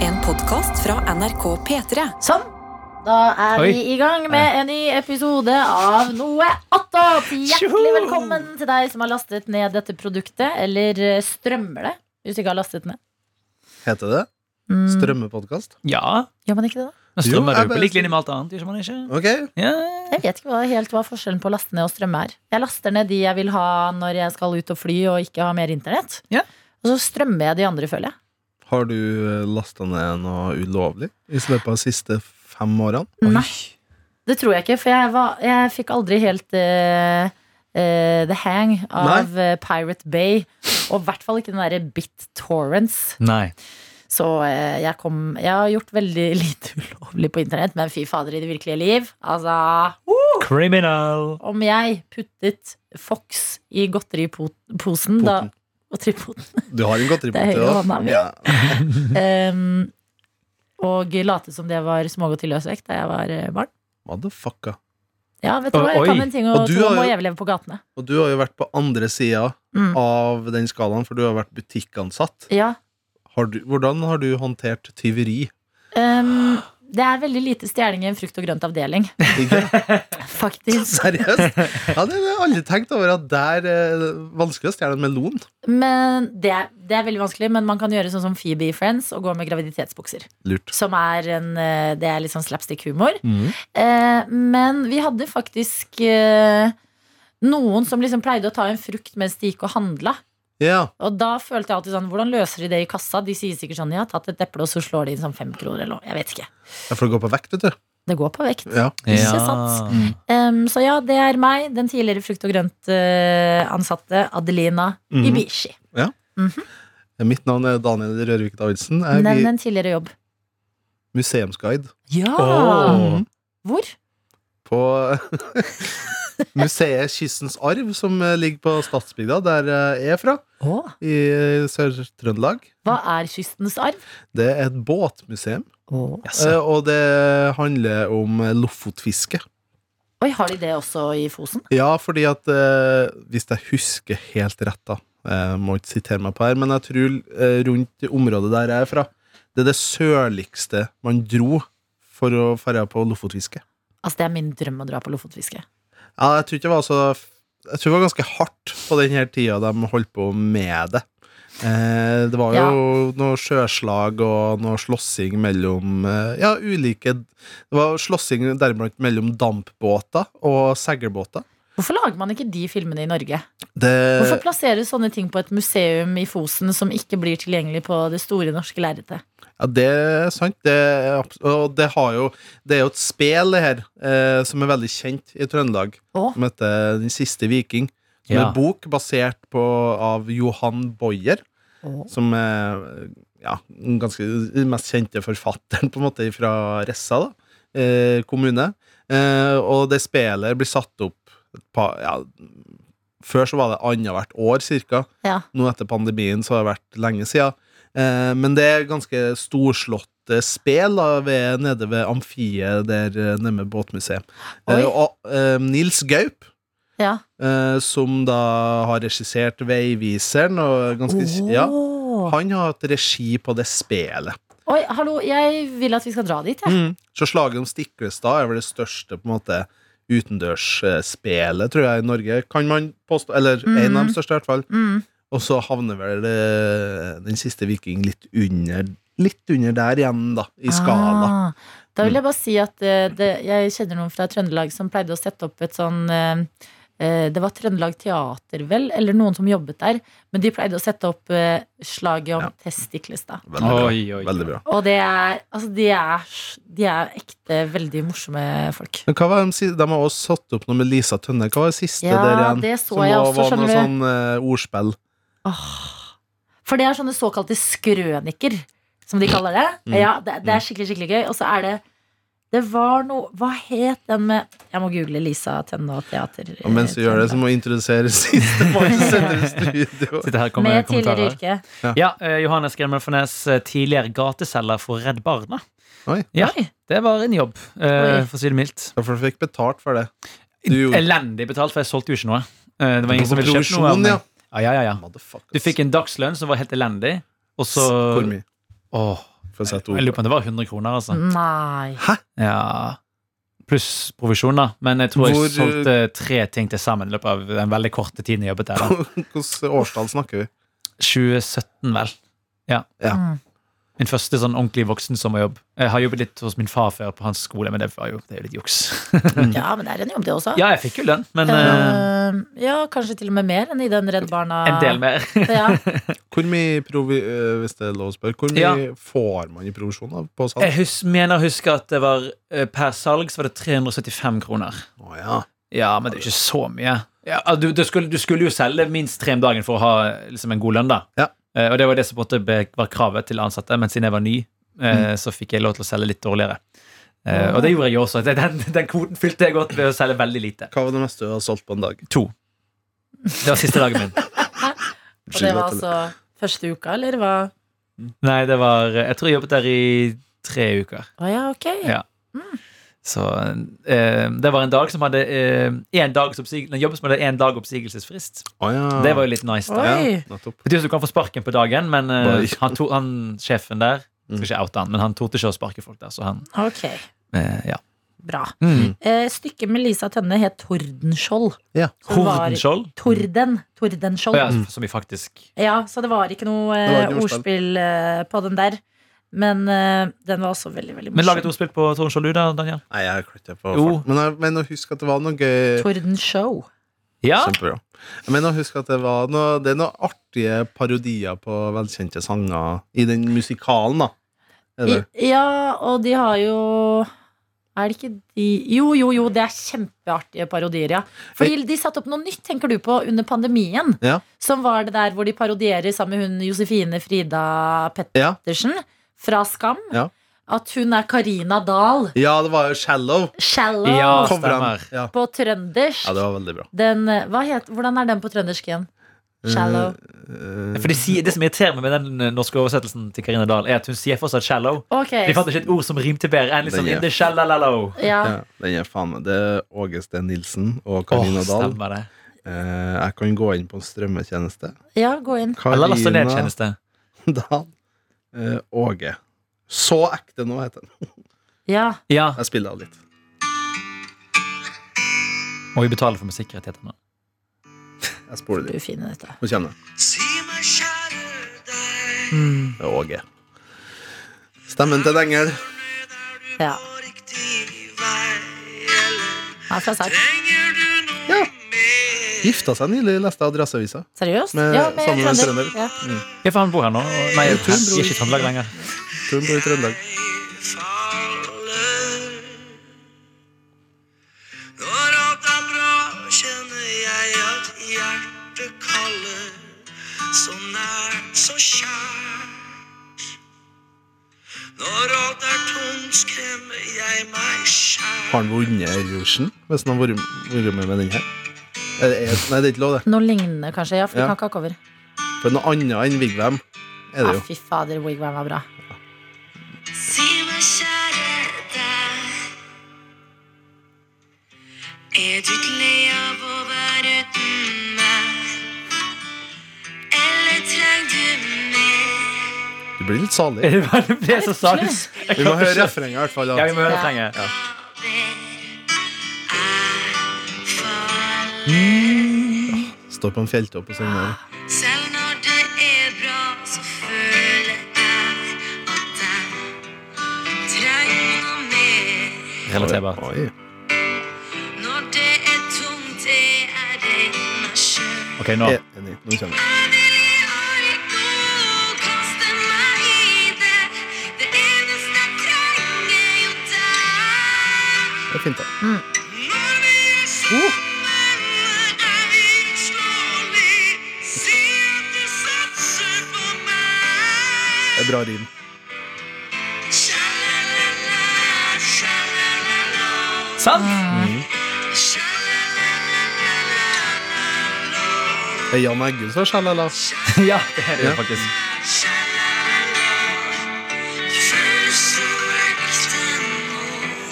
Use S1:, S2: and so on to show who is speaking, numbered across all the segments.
S1: En podkast fra NRK P3.
S2: Sånn. Da er
S3: Oi.
S2: vi i gang med en ny episode av Noe attåt. Hjertelig
S3: Tjoho!
S2: velkommen til deg som har lastet ned dette produktet, eller eh, strømmer det. Hvis du ikke har lastet ned.
S4: Heter det
S2: Mm.
S4: strømmepodkast?
S3: Ja.
S2: Gjør man ikke det, da?
S3: Men
S4: Jo,
S3: strømmer
S4: jeg
S3: du på
S4: bare-
S3: lik linje med alt annet, gjør man ikke?
S4: Ok,
S3: Ja.
S2: Jeg vet ikke hva, helt hva forskjellen på å laste ned og strømme er. Jeg laster ned de jeg vil ha når jeg skal ut og fly og ikke har mer internett.
S3: Ja.
S2: Og så strømmer jeg de andre, føler jeg.
S4: Har du lasta ned noe ulovlig i løpet av de siste fem årene?
S2: Nei. Det tror jeg ikke, for jeg, var, jeg fikk aldri helt eh, eh, the hang av eh, Pirate Bay. Og i hvert fall ikke den derre BitTorrents.
S3: Nei.
S2: Så eh, jeg kom Jeg har gjort veldig lite ulovlig på internett, men fy fader, i det virkelige liv Altså,
S3: Criminal.
S2: om jeg puttet Fox i godteriposen da
S4: Poten.
S2: Godteripoten.
S4: Du har en godteripote
S2: Det er
S4: da.
S2: høyre hånda mi.
S4: Ja.
S2: Um, og late som det var smågodt i løsvekt da jeg var eh, barn.
S4: Motherfucka.
S2: Ja, vet du hva, jeg
S3: Oi.
S2: kan en ting og,
S4: Og du
S2: to om
S4: har
S2: å
S4: jo- Ah.
S2: overleve på gatene.
S4: Og du har jo vært på andre sida
S2: Mm.
S4: av den skalaen, for du har vært butikkansatt.
S2: Ja,
S4: Har du, hvordan har du håndtert tyveri?
S2: um, det er veldig lite stjeling i en frukt- og grøntavdeling,
S4: Ikke?
S2: faktisk.
S4: Seriøst? Ja, det har jeg aldri tenkt over at der er det vanskelig å stjele en melon.
S2: Men det, er- det er veldig vanskelig, men man kan gjøre sånn som Phoebe i Friends og gå med graviditetsbukser.
S4: Lurt.
S2: Som er en, eh, det er litt sånn slapstick-humor.
S4: Mhm.
S2: Eh, men vi hadde faktisk eh, noen som liksom pleide å ta en frukt mens de gikk og handla.
S4: Ja.
S2: Og da følte jeg alltid sånn, hvordan løser de det i kassa? De sier sikkert sånn, ja, tatt et eple, og så slår de inn sånn fem kroner eller noe. Jeg vet ikke.
S4: Jeg får gå på vekt, vet du.
S2: Det går på vekt.
S4: Ja.
S2: Ikke sant? Em, så ja, det er meg, den tidligere frukt- og grønt-ansatte Adelina
S4: Mhm.
S2: Ibishi.
S4: Mitt navn er Daniel Rørvik Davidsen. Jeg
S2: Nevn
S4: blir
S2: en tidligere jobb.
S4: museumsguide.
S2: Ja!
S3: Åh.
S2: Hvor?
S4: på museet Kystens Arv, som eh, ligger på Stadsbygda, der eh, jeg er fra, i eh, Sør-Trøndelag.
S2: Hva er kystens arv?
S4: Det er et båtmuseum,
S3: Jaså.
S4: eh, og det handler om eh, lofotfiske.
S2: Oi, har de det også i Fosen?
S4: Ja, fordi at eh, hvis jeg husker helt rett, da Jeg må ikke sitere meg på her, men jeg tror eh, rundt i området der jeg er fra, det er det sørligste man dro for å dra på lofotfiske.
S2: Altså, det er min drøm å dra på lofotfiske.
S4: Ja, jeg tror ikke det var så Jeg tror det var ganske hardt på den her tida de holdt på med det. Eh, det var jo noe sjøslag og noe slåssing mellom eh, Ja, ulike Det var slåssing deriblant mellom dampbåter og seilbåter.
S2: Hvorfor lager man ikke de filmene i Norge? Hvorfor
S4: Det
S2: plasseres sånne ting på et museum i Fosen som ikke blir tilgjengelig på det store norske lerretet?
S4: Ja, det er sant. Det er, abs- og det, har jo, det er jo et spel, det her, eh, som er veldig kjent i Trøndelag.
S2: Å.
S4: Som heter Den siste viking. Som er
S3: Ja.
S4: en bok basert på av Johan Boyer.
S2: Å.
S4: Som er ja, den ganske den mest kjente forfatteren, på en måte, fra Ressa da, eh, kommune. Eh, og det spelet blir satt opp et par, ja, Før så var det annethvert år, cirka.
S2: Ja.
S4: Nå etter pandemien så har det vært lenge siden. Eh, men det er ganske storslått eh, spel da, ved, nede ved amfiet der eh, nede med båtmuseet.
S2: Oi.
S4: Eh, og eh, Nils Gaup,
S2: Ja.
S4: eh, som da har regissert Veiviseren og er ganske Ja.
S2: Åh.
S4: Han har hatt regi på det spelet.
S2: Oi, hallo, jeg vil at vi skal dra dit, jeg.
S4: Så slaget om Stiklestad er vel det største på en måte utendørsspelet, tror jeg, i Norge. Kan man påstå Eller en av de største, i hvert fall.
S2: Mm.
S4: Og så havner vel eh, den siste viking litt under Litt under der igjen, da, i skala. Mm.
S2: Ah, da vil jeg bare si at eh, det, jeg kjenner noen fra Trøndelag som pleide å sette opp et sånn eh, eh, Det var Trøndelag Teater, vel, eller noen som jobbet der. Men de pleide å sette opp eh, slaget om
S4: Ja.
S2: Testiklestad.
S4: Veldig bra.
S3: Oi, oi, oi.
S4: Veldig bra.
S2: Og det er, altså, de, er, s- de er ekte veldig morsomme folk.
S4: Men hva var de, si- de har også satt opp noe med Lisa Tønne. Hva var det siste
S2: Ja,
S4: der igjen?
S2: det så
S4: som
S2: jeg
S4: var,
S2: også,
S4: var noe
S2: skjønner
S4: sånn eh, ordspill.
S2: For det er sånne såkalte skrøniker, som de kaller det.
S4: Mm.
S2: Ja, det, det er skikkelig, skikkelig gøy. Og så er det det var noe Hva het den med Jeg må google Lisa Tønne og teater.
S4: Og mens du gjør det, så må jeg introdusere siste mann som sender i studio.
S3: Sitter her og kommer
S2: Med
S3: med
S2: tidligere
S3: kommentarer.
S2: yrke.
S3: Ja, eh, Johannes Gremmer Fornes, eh, tidligere gateselger for Redd Barna.
S4: Oi.
S3: Ja,
S2: Oi.
S3: det var en jobb, eh,
S2: Oi.
S3: for å si det mildt.
S4: For du fikk betalt for det. Du gjorde
S3: Elendig betalt, for jeg solgte jo ikke noe. Eh, Det var ingen som ville kjøpt noe. av
S4: Provisjon,
S3: meg.
S4: ja.
S3: Ja, ja, ja, ja.
S4: Motherfuckers.
S3: Du fikk en dagslønn som var helt elendig, og så
S4: Hvor mye?
S3: Åh,
S4: for å sette
S3: Jeg
S4: ord
S3: lurer på om det var 100 kroner, altså.
S2: Nei.
S3: Ja. Pluss provisjon, da. Men jeg tror
S4: Hvor-
S3: jeg solgte tre ting til sammen i løpet av den veldig korte tiden jeg jobbet der. da.
S4: Hvilket årstall snakker vi?
S3: 2017, vel.
S4: Ja.
S2: Mm.
S3: Min første sånn ordentlig voksensommerjobb. Jeg har jobbet litt hos min far før på hans skole, men det var jo, det er jo litt juks.
S2: Ja, men det er en jobb, det også.
S3: ja, jeg fikk jo lønn, men eh,
S2: Eh, ja, kanskje til og med mer enn i den Redd Barna.
S3: en del mer.
S2: Ja.
S4: Hvor mye provi, eh, hvis det er lov å spørre, hvor mye får man i provisjon av på salg?
S3: Jeg hus mener å huske at det var eh, per salg så var det 375 kroner.
S4: Å ja.
S3: Ja, men det er jo ikke så mye. Ja, altså, du, du, skulle, du skulle jo selge minst tre om dagen for å ha liksom, en god lønn, da.
S4: Ja.
S3: Eh, og det var det som på en måte ble- var kravet til ansatte, men siden jeg var ny, eh, så fikk jeg lov til å selge litt dårligere. Eh, og det gjorde jeg jo også. Det- Den, den kvoten fylte jeg godt ved å selge veldig lite.
S4: Hva var det meste du har solgt på en dag?
S3: To. Det var siste dagen min.
S2: Og det var altså første uka, eller hva?
S3: Nei, det var Jeg tror jeg jobbet der i tre uker.
S2: Å ja, ok.
S3: Ja. Så eh, det var en dag som hadde eh, en, dag en jobb som hadde én dag oppsigelsesfrist.
S4: Å ja.
S3: Det var jo litt nice, da.
S4: ja,
S2: Oi.
S4: nettopp.
S3: Det betyr at du kan få sparken på dagen, men eh,
S4: Bare ikke.
S3: han, to, han sjefen der
S4: Mm.
S3: Skal ikke oute han, men han torde ikke å sparke folk der, så han
S2: Ok,
S3: eh, Ja.
S2: bra.
S3: Mm.
S2: Eh, stykket med Lisa Tønne het Tordenskjold.
S4: Ja.
S2: Så det var-
S3: Hordenskjold.
S2: Torden.
S3: Å
S2: Tordenskjold.
S3: ja,
S2: ja.
S4: Mm.
S3: som vi faktisk
S2: så det var ikke noe eh,
S4: Det var ikke noe
S2: ordspill eh, på den der. Men eh, den var også veldig, veldig
S3: Men lag et
S2: morsom.
S3: ordspill på Tordenskjold, du da, Daniel.
S4: Nei, jeg klarte på
S3: Jo.
S4: fart. Men, jeg, men å huske at det var noe gøy
S2: Tordenshow.
S3: Ja.
S4: Kjempebra. Men å huske at det var noe, det er noen artige parodier på velkjente sanger i den musikalen, da. Er det?
S2: I- Ja, og de har jo Er det ikke de Jo, jo, jo, det er kjempeartige parodier, ja. Fordi de satte opp noe nytt, tenker du på, under pandemien.
S4: Ja.
S2: Som var det der hvor de parodierer sammen med hun Josefine Frida
S4: Ja.
S2: Pettersen fra Skam.
S4: Ja.
S2: At hun er Karina Dahl.
S4: ja, det var jo 'Shallow'.
S2: Shallow
S3: Ja.
S4: Kom frem.
S3: stemmer.
S4: Ja.
S2: på trøndersk.
S4: ja, det var veldig bra.
S2: den, eh, hva het, hvordan er den på trøndersk igjen? Shallow.
S4: Eh, eh,
S3: For de sier, Det som irriterer meg med den eh, norske oversettelsen til Karina Dahl, er at hun sier fortsatt 'shallow'.
S2: Ok.
S3: De fant ikke et ord som rimte bedre enn liksom
S4: Den er-
S3: in the shallalalo.
S2: Ja.
S4: ja, den er faen meg Det er Åge Steen Nilsen og Karina
S3: Åh,
S4: Dahl.
S3: stemmer det.
S4: Eh, jeg kan gå inn på en strømmetjeneste.
S2: ja, gå inn.
S3: Eller last ned
S4: Karina
S3: tjeneste.
S4: Dahl. Eh, Åge. Så ekte nå, heter den.
S2: Ja.
S3: Ja.
S4: Jeg spiller av litt.
S3: Må vi betale for musikkrettighetene?
S4: Jeg spoler litt.
S2: Du finner dette.
S4: Nå kjenner jeg. Det er Åge. Stemmen til en engel.
S2: Ja. Her får jeg sagt.
S4: Ja. Gifta seg nylig, leste jeg i Adresseavisa.
S2: Seriøst?
S4: Med-
S2: ja, med
S4: sammen med en
S2: trønder.
S4: trønder.
S2: Ja.
S3: Ja, for han bor her nå. Nei,
S4: Jeg
S3: jeg
S4: tror han bor
S3: er
S4: i-
S3: ikke i Trøndelag lenger.
S4: Tror hun bor i Trøndelag.
S5: Når alt er bra, kjenner jeg at hjertet kaller. Så nært, så kjært. Når alt er tungt, skremmer jeg meg
S4: Har
S5: sjæl.
S4: han vunnet Eurovision? Hvis han har vært vært med med den her? Er det- er- Nei, det er ikke lov, det.
S2: Noe lignende, kanskje. Ja, for
S4: Ja.
S2: vi kan ikke ha cover.
S4: For noe annet enn Vigvam er
S2: Ja,
S4: det jo.
S2: fy fader, Wigwam var bra.
S5: Si meg, kjære deg, er du lei av å være uten meg? Eller trenger du mer?
S4: Du blir litt salig.
S3: Det var det ble så sagt.
S4: Vi må høre refrenget, i hvert fall.
S3: Ja, vi
S4: at-
S3: må høre refrenget.
S4: Står på en fjelltopp og synger. der.
S5: Selv når det er bra, så føler jeg at jeg trenger noe mer.
S3: Relaterbart.
S4: Oi.
S5: Når det er tungt, er jeg redd meg sjøl.
S3: Ok, nå.
S4: Ja, Enig. Nå kjenner jeg.
S5: Jeg vil i år ikke å kaste meg i det. Det eneste jeg trenger, er jo deg.
S4: Det er fint, da.
S5: Når vi er sammen, er vi uslåelige. Si at du satser på meg.
S4: Det er bra rim.
S5: Sha-la-la-la, sha-la-la-la,
S3: Sant?
S5: sha-la-la-la-la-la,
S4: Det er Jan Eggum som har skjell, eller?
S3: Ja, det er det jo faktisk.
S5: sha-la-la-la.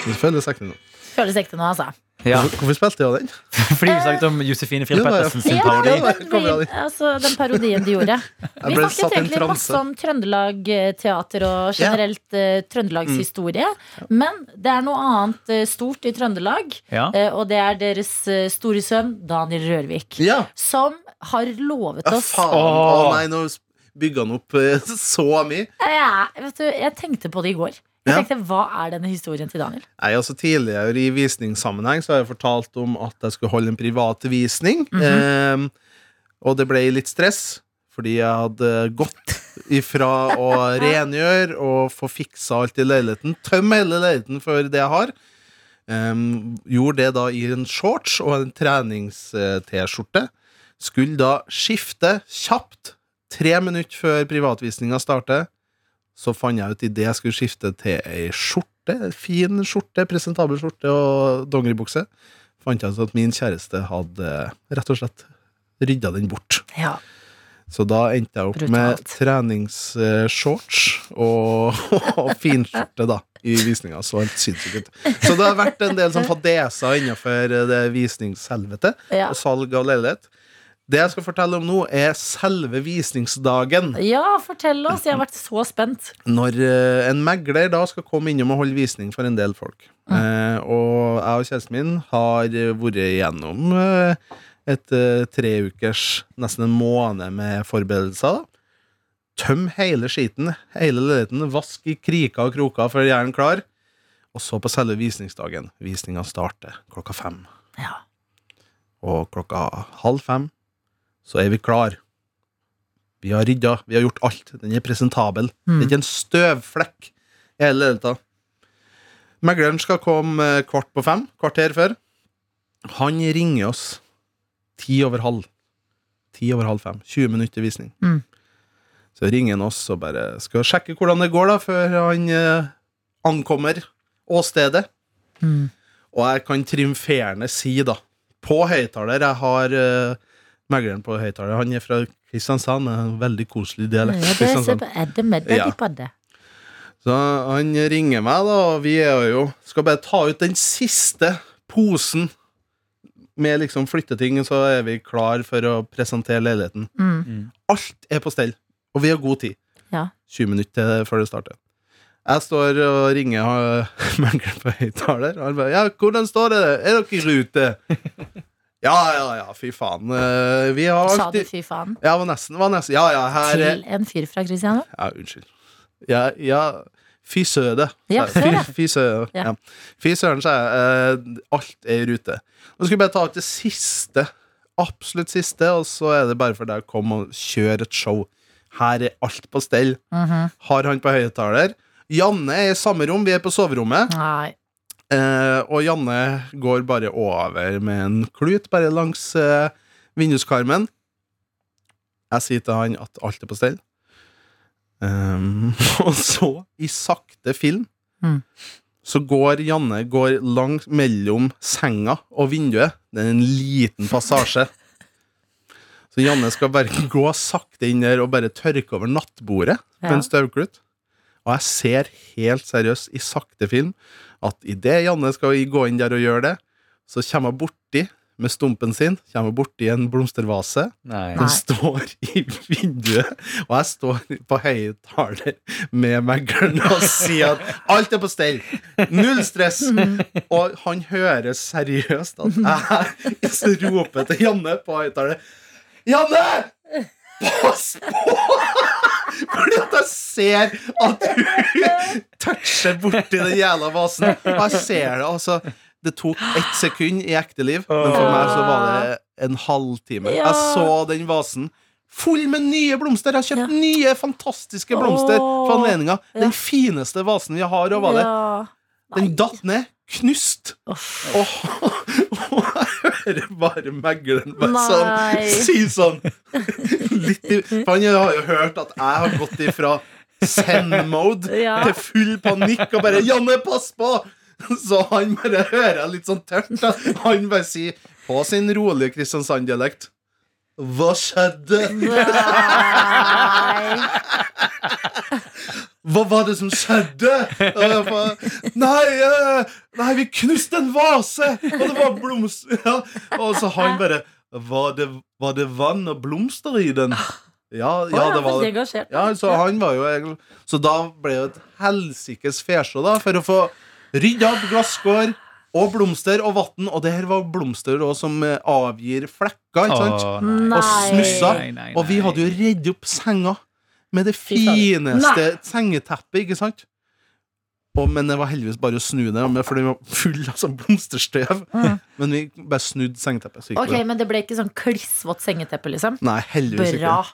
S5: Du føles så ekte
S4: Det føles ekte
S5: nå.
S4: nå.
S2: Føles ekte nå, altså.
S3: Ja.
S4: Hvorfor, hvorfor spilte jeg den?
S3: Fordi vi snakket om Josefine Friel
S4: Ja, det er-
S3: Pettersen sin
S4: Ja,
S3: parodi.
S4: det er-
S2: den,
S4: Kommer
S2: vi,
S4: aldri.
S2: altså, den parodien de gjorde. Vi
S4: Jeg ble
S2: snakket
S4: satt i en
S2: egentlig masse
S4: transe.
S2: om Trøndelag eh, teater og generelt eh, Trøndelags historie.
S4: Mm.
S2: Men det er noe annet eh, stort i Trøndelag,
S3: Ja.
S2: eh, og det er deres eh, store sønn Daniel Rørvik.
S4: Ja.
S2: Som har lovet
S4: Ja,
S2: oss
S4: faen. Å nei, nå bygger han opp eh, så mye.
S2: Ja, vet du, Jeg tenkte på det i går. Jeg
S4: Ja.
S2: tenkte, Hva er denne historien til Daniel?
S4: Nei, altså Tidligere i visningssammenheng så har jeg fortalt om at jeg skulle holde en privat visning. eh, og det ble litt stress, fordi jeg hadde gått ifra å rengjøre og få fiksa alt i leiligheten. Tømme hele leiligheten for det jeg har. Em, gjorde det da i en shorts og en trenings-T-skjorte. Skulle da skifte kjapt tre minutter før privatvisninga starter så fant jeg ut idet jeg skulle skifte til ei skjorte, en fin skjorte, presentabel skjorte og dongeribukse, fant jeg ut at min kjæreste hadde eh, rett og slett rydda den bort.
S2: Ja,
S4: Så da endte jeg opp med
S2: Brutalt.
S4: treningsshorts og, og finskjorte, da. I visninga. Så helt sinnssykt ut. Så det har vært en del sånn fadeser innenfor eh, det visningshelvete
S2: ja.
S4: og salg av leilighet. Det jeg skal fortelle om nå, er selve visningsdagen.
S2: ja fortell oss. Jeg har vært så spent.
S4: når eh, en megler da skal komme innom og holde visning for en del folk. Eh, og jeg og kjæresten min har eh, vært igjennom eh, et eh, tre ukers, nesten en måned med forberedelser. da. Tøm hele skiten, hele leiligheten, vask i kriker og kroker før jeg er den klar. Og så på selve visningsdagen. Visninga starter klokka fem.
S2: Ja.
S4: Og klokka halv fem så er vi klar. Vi har rydda, vi har gjort alt. Den er presentabel. Det er ikke en støvflekk i hele leiligheta. Megleren skal komme eh, kvart på fem, kvarter før. Han ringer oss ti over halv. Ti over halv fem. 20 minutter til visning.
S2: Mm.
S4: Så ringer han oss og bare skal sjekke hvordan det går, da, før han eh, ankommer åstedet.
S2: Mm.
S4: Og jeg kan triumferende si, da, på høyttaler Jeg har eh, megleren på høyttaler. Han er fra Kristiansand, med en veldig koselig
S2: Ja,
S4: dialekt.
S2: det er så- er det med deg,
S4: liksom sånn. Ja.
S2: de padde?
S4: Så han ringer meg, da, og vi er jo Skal bare ta ut den siste posen med liksom flytteting, så er vi klar for å presentere leiligheten.
S2: Mm.
S4: Alt er på stell, og vi har god tid.
S2: Ja.
S4: 20 minutter til- før det starter. Jeg står og ringer øh, megleren på høyttaler, og han bare 'Ja, hvordan står det? Er dere i rute?' ja, ja, ja, fy faen. øh, Vi har
S2: Sa du
S4: alltid
S2: fy faen
S4: Ja, var nesten, var nesten. Ja, ja, her er- eh,
S2: til en fyr fra Kristiania?
S4: ja, unnskyld. Ja, ja fy søde.
S2: Ja,
S4: Fy-
S2: søde.
S4: Fy søde.
S2: Ja.
S4: Ja. Fy søren, sa jeg. Eh, alt er i rute. Nå skal vi bare ta ut det siste. Absolutt siste, og så er det bare for deg å komme og kjøre et show. Her er alt på stell.
S2: Mhm.
S4: Har han på høyttaler. Janne er i samme rom, vi er på soverommet.
S2: Nei.
S4: Eh, og Janne går bare over med en klut, bare langs eh, vinduskarmen. Jeg sier til han at alt er på stell. Ehm, og så, i sakte film,
S2: Mm.
S4: så går Janne går langs mellom senga og vinduet. Det er en liten passasje. Så Janne skal bare gå sakte inn der og bare tørke over nattbordet med
S2: Ja.
S4: en støvklut. Og jeg ser helt seriøst i sakte film at idet Janne skal gå inn der og gjøre det, så kommer hun borti med stumpen sin, kommer borti en blomstervase
S3: Nei.
S4: som
S2: Nei.
S4: står i vinduet, og jeg står på høyttaler med megleren og sier at alt er på stell. Null stress. Og han hører seriøst at jeg roper til Janne på høyttaler Janne! Pass på! Fordi at jeg ser at hun toucher borti den jævla vasen. Og jeg ser det, altså. Det tok ett sekund i ekte liv, men for meg så var det eh, en halvtime.
S2: Ja.
S4: Jeg så den vasen full med nye blomster. Jeg har kjøpt
S2: Ja.
S4: nye, fantastiske blomster
S2: Åh.
S4: for anledninga. Den
S2: Ja.
S4: fineste vasen vi har, og var det.
S2: Ja.
S4: Den datt ned. Knust.
S2: Uff.
S4: Og, og jeg hører bare megleren bare
S2: Nei.
S4: sånn si sånn litt i, For han har jo hørt at jeg har gått ifra send-mode
S2: Ja.
S4: til full panikk og bare 'Janne, pass på!' Så han bare hører jeg litt sånn tørt. da. Han bare sier på sin rolige Kristiansand-dialekt 'Hva skjedde?'
S2: Nei.
S4: Hva var det som skjedde? Og jeg bare, Nei, eh, nei, vi knuste en vase! Og det var blomster ja. Og så han bare var det, var det vann og blomster i den? Ja, ja det var det.
S2: Engasjert.
S4: Ja, så han var jo egentlig- Så da ble det et helsikes fesjå, da, for å få rydda opp glasskår og blomster og vann. Og det her var blomster også, som eh, avgir flekker, ikke sant?
S3: Å,
S2: Nei.
S4: Og smussa.
S3: Nei, nei,
S4: Og vi
S3: nei.
S4: hadde jo redd opp senga med det
S2: Fy faen.
S4: fineste sengeteppet, ikke sant? Og, men det var heldigvis bare å snu det, men- for den var full av sånn blomsterstøv.
S2: Mm.
S4: Men vi bare snudde sengeteppet. Så gikk
S2: Ok,
S4: det.
S2: Men det ble ikke sånn klissvått sengeteppe, liksom?
S4: Nei, heldigvis ikke.
S2: Bra.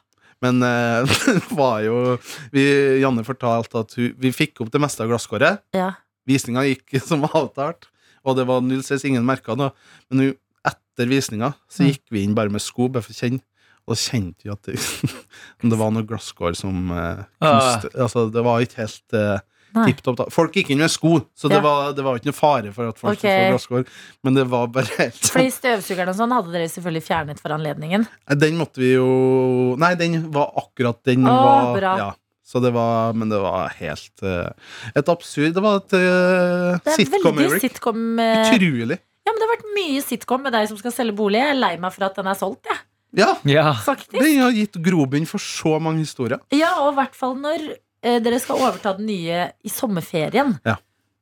S4: Men eh, det var jo vi, Janne fortalte at hun, vi fikk opp det meste av glasskåret.
S2: Ja.
S4: Visninga gikk som avtalt, og det var null stress, ingen merka noe. Men hun, etter visninga så
S2: Mm.
S4: gikk vi inn bare med sko, bare for å kjenne. Og da kjente vi at det, om det var noe glasskår som eh,
S3: Ah.
S4: knuste. Altså, det var ikke helt uh,
S2: Nei.
S4: tipp topp. da. Folk gikk inn med sko, så det,
S2: Ja.
S4: var, det var ikke noe fare for at folk
S2: Ok.
S4: skulle få glasskår. Men det var bare helt sånn
S2: Fordi støvsugeren og sånn hadde dere selvfølgelig fjernet for anledningen.
S4: Nei, Den måtte vi jo Nei, den var akkurat den
S2: Å,
S4: var
S2: bra.
S4: Ja. Så det var Men det var helt eh, Et absurd Det var et eh,
S2: Det er veldig
S4: sitcom-øyeblikk.
S2: sitcom eh,
S4: Utrolig.
S2: Ja, men Det har vært mye sitcom med deg som skal selge bolig. Jeg er lei meg for at den er solgt, jeg.
S4: Ja.
S3: Ja.
S2: Faktisk.
S4: Den har gitt grobunn for så mange historier.
S2: Ja, og i hvert fall når eh, dere skal overta den nye i sommerferien.
S4: Ja.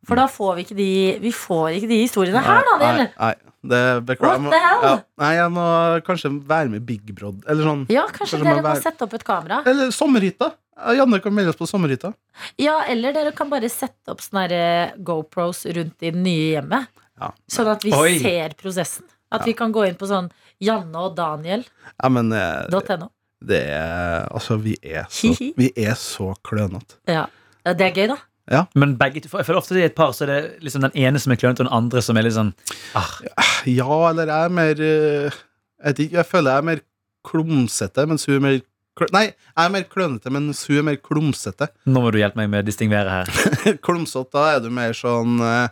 S2: For da får vi ikke de, vi får ikke de historiene her, da.
S4: nei,
S2: Del.
S4: nei, det beklager jeg må-
S2: What the hell?
S4: Ja, nei, jeg må kanskje være med i Big Brod, eller sånn.
S2: Ja, kanskje
S4: Kanskje
S2: dere
S4: man
S2: må
S4: vær-
S2: sette opp et kamera.
S4: Eller Sommerhytta. Ja, Janne kan melde oss på Sommerhytta.
S2: Ja, Eller dere kan bare sette opp sånne her, eh, GoPros rundt i det nye hjemmet.
S4: Ja.
S2: Sånn at vi
S3: Oi.
S2: ser prosessen. At vi kan gå inn på sånn Janne og Daniel.no.
S4: Ja, men eh, det er Altså, vi er så,
S2: Hihi.
S4: vi er så klønete.
S2: Ja. Ja, Det er gøy, da.
S3: Men begge to, jeg føler ofte det er et par, så er det liksom den ene som er klønete, og den andre som er litt sånn ah,
S4: Ja, eller jeg er mer eh, Jeg vet ikke, jeg føler jeg er mer klumsete, mens hun er mer klø Nei, jeg er mer klønete, mens hun er mer klumsete.
S3: Nå må du hjelpe meg med å distingvere her.
S4: Klumsete, da er du mer sånn eh,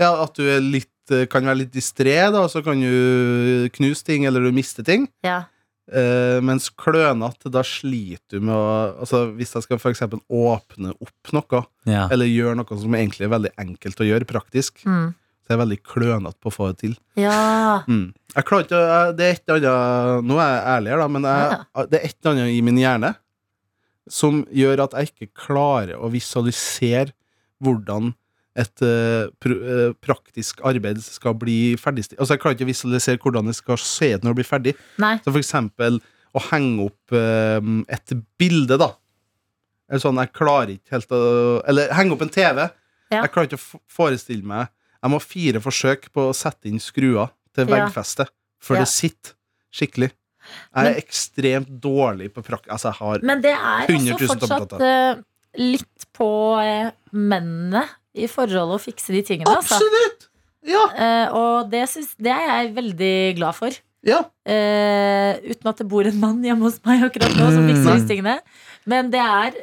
S4: Ja, at du er litt eh, kan være litt distré, da, så kan du knuse ting, eller du mister ting.
S2: Ja.
S4: Eh, mens klønete, da sliter du med å Altså, hvis jeg skal for eksempel åpne opp noe,
S3: Ja.
S4: eller gjøre noe som egentlig er veldig enkelt å gjøre praktisk,
S2: Mm.
S4: så er jeg veldig klønete på å få det til.
S2: ja.
S4: Mm. Jeg klarer ikke å- jeg- Det er et eller annet Nå er jeg ærlig her, da, men jeg, det er et eller annet i min hjerne som gjør at jeg ikke klarer å visualisere hvordan et eh, pr eh, praktisk arbeid skal bli ferdigstilt. Altså, jeg klarer ikke å visualisere hvordan det skal se ut når det blir ferdig.
S2: Nei.
S4: Så for eksempel å henge opp eh, et bilde, da. Eller sånn, jeg klarer ikke helt å Eller henge opp en TV.
S2: Ja.
S4: Jeg klarer ikke å f- forestille meg Jeg må ha fire forsøk på å sette inn skruer
S2: Ja.
S4: til veggfestet før
S2: Ja.
S4: det sitter skikkelig. Jeg er ekstremt dårlig på prakk... Altså, jeg har
S2: Men det er
S4: 100
S2: også
S4: 000
S2: fortsatt eh, litt på eh, mennene i forholdet å fikse de tingene. Altså.
S4: Absolutt! Ja!
S2: Eh, og det, syns- det er jeg veldig glad for.
S4: ja.
S2: Eh, uten at det bor en mann hjemme hos meg akkurat nå som fikser disse tingene. Men det er